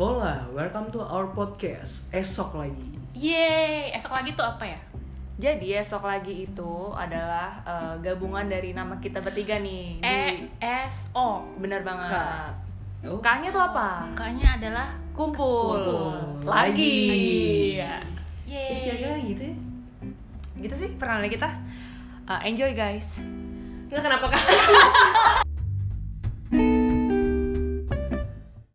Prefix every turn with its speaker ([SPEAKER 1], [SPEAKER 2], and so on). [SPEAKER 1] Hola, welcome to our podcast. Esok lagi.
[SPEAKER 2] Yeay, esok lagi tuh apa ya?
[SPEAKER 3] Jadi esok lagi itu adalah eh, gabungan dari nama kita bertiga nih.
[SPEAKER 2] E
[SPEAKER 3] Di-
[SPEAKER 2] S O.
[SPEAKER 3] bener banget.
[SPEAKER 1] K.
[SPEAKER 3] K-nya tuh apa?
[SPEAKER 2] Angkanya adalah
[SPEAKER 3] Kumpul.
[SPEAKER 1] Kumpul. Lagi.
[SPEAKER 3] Lagi.
[SPEAKER 1] Ya, Kira-kira
[SPEAKER 2] Yeay.
[SPEAKER 1] gitu ya.
[SPEAKER 3] Gitu sih perkenalan kita. Eh, enjoy guys.
[SPEAKER 4] Nggak kenapa kan?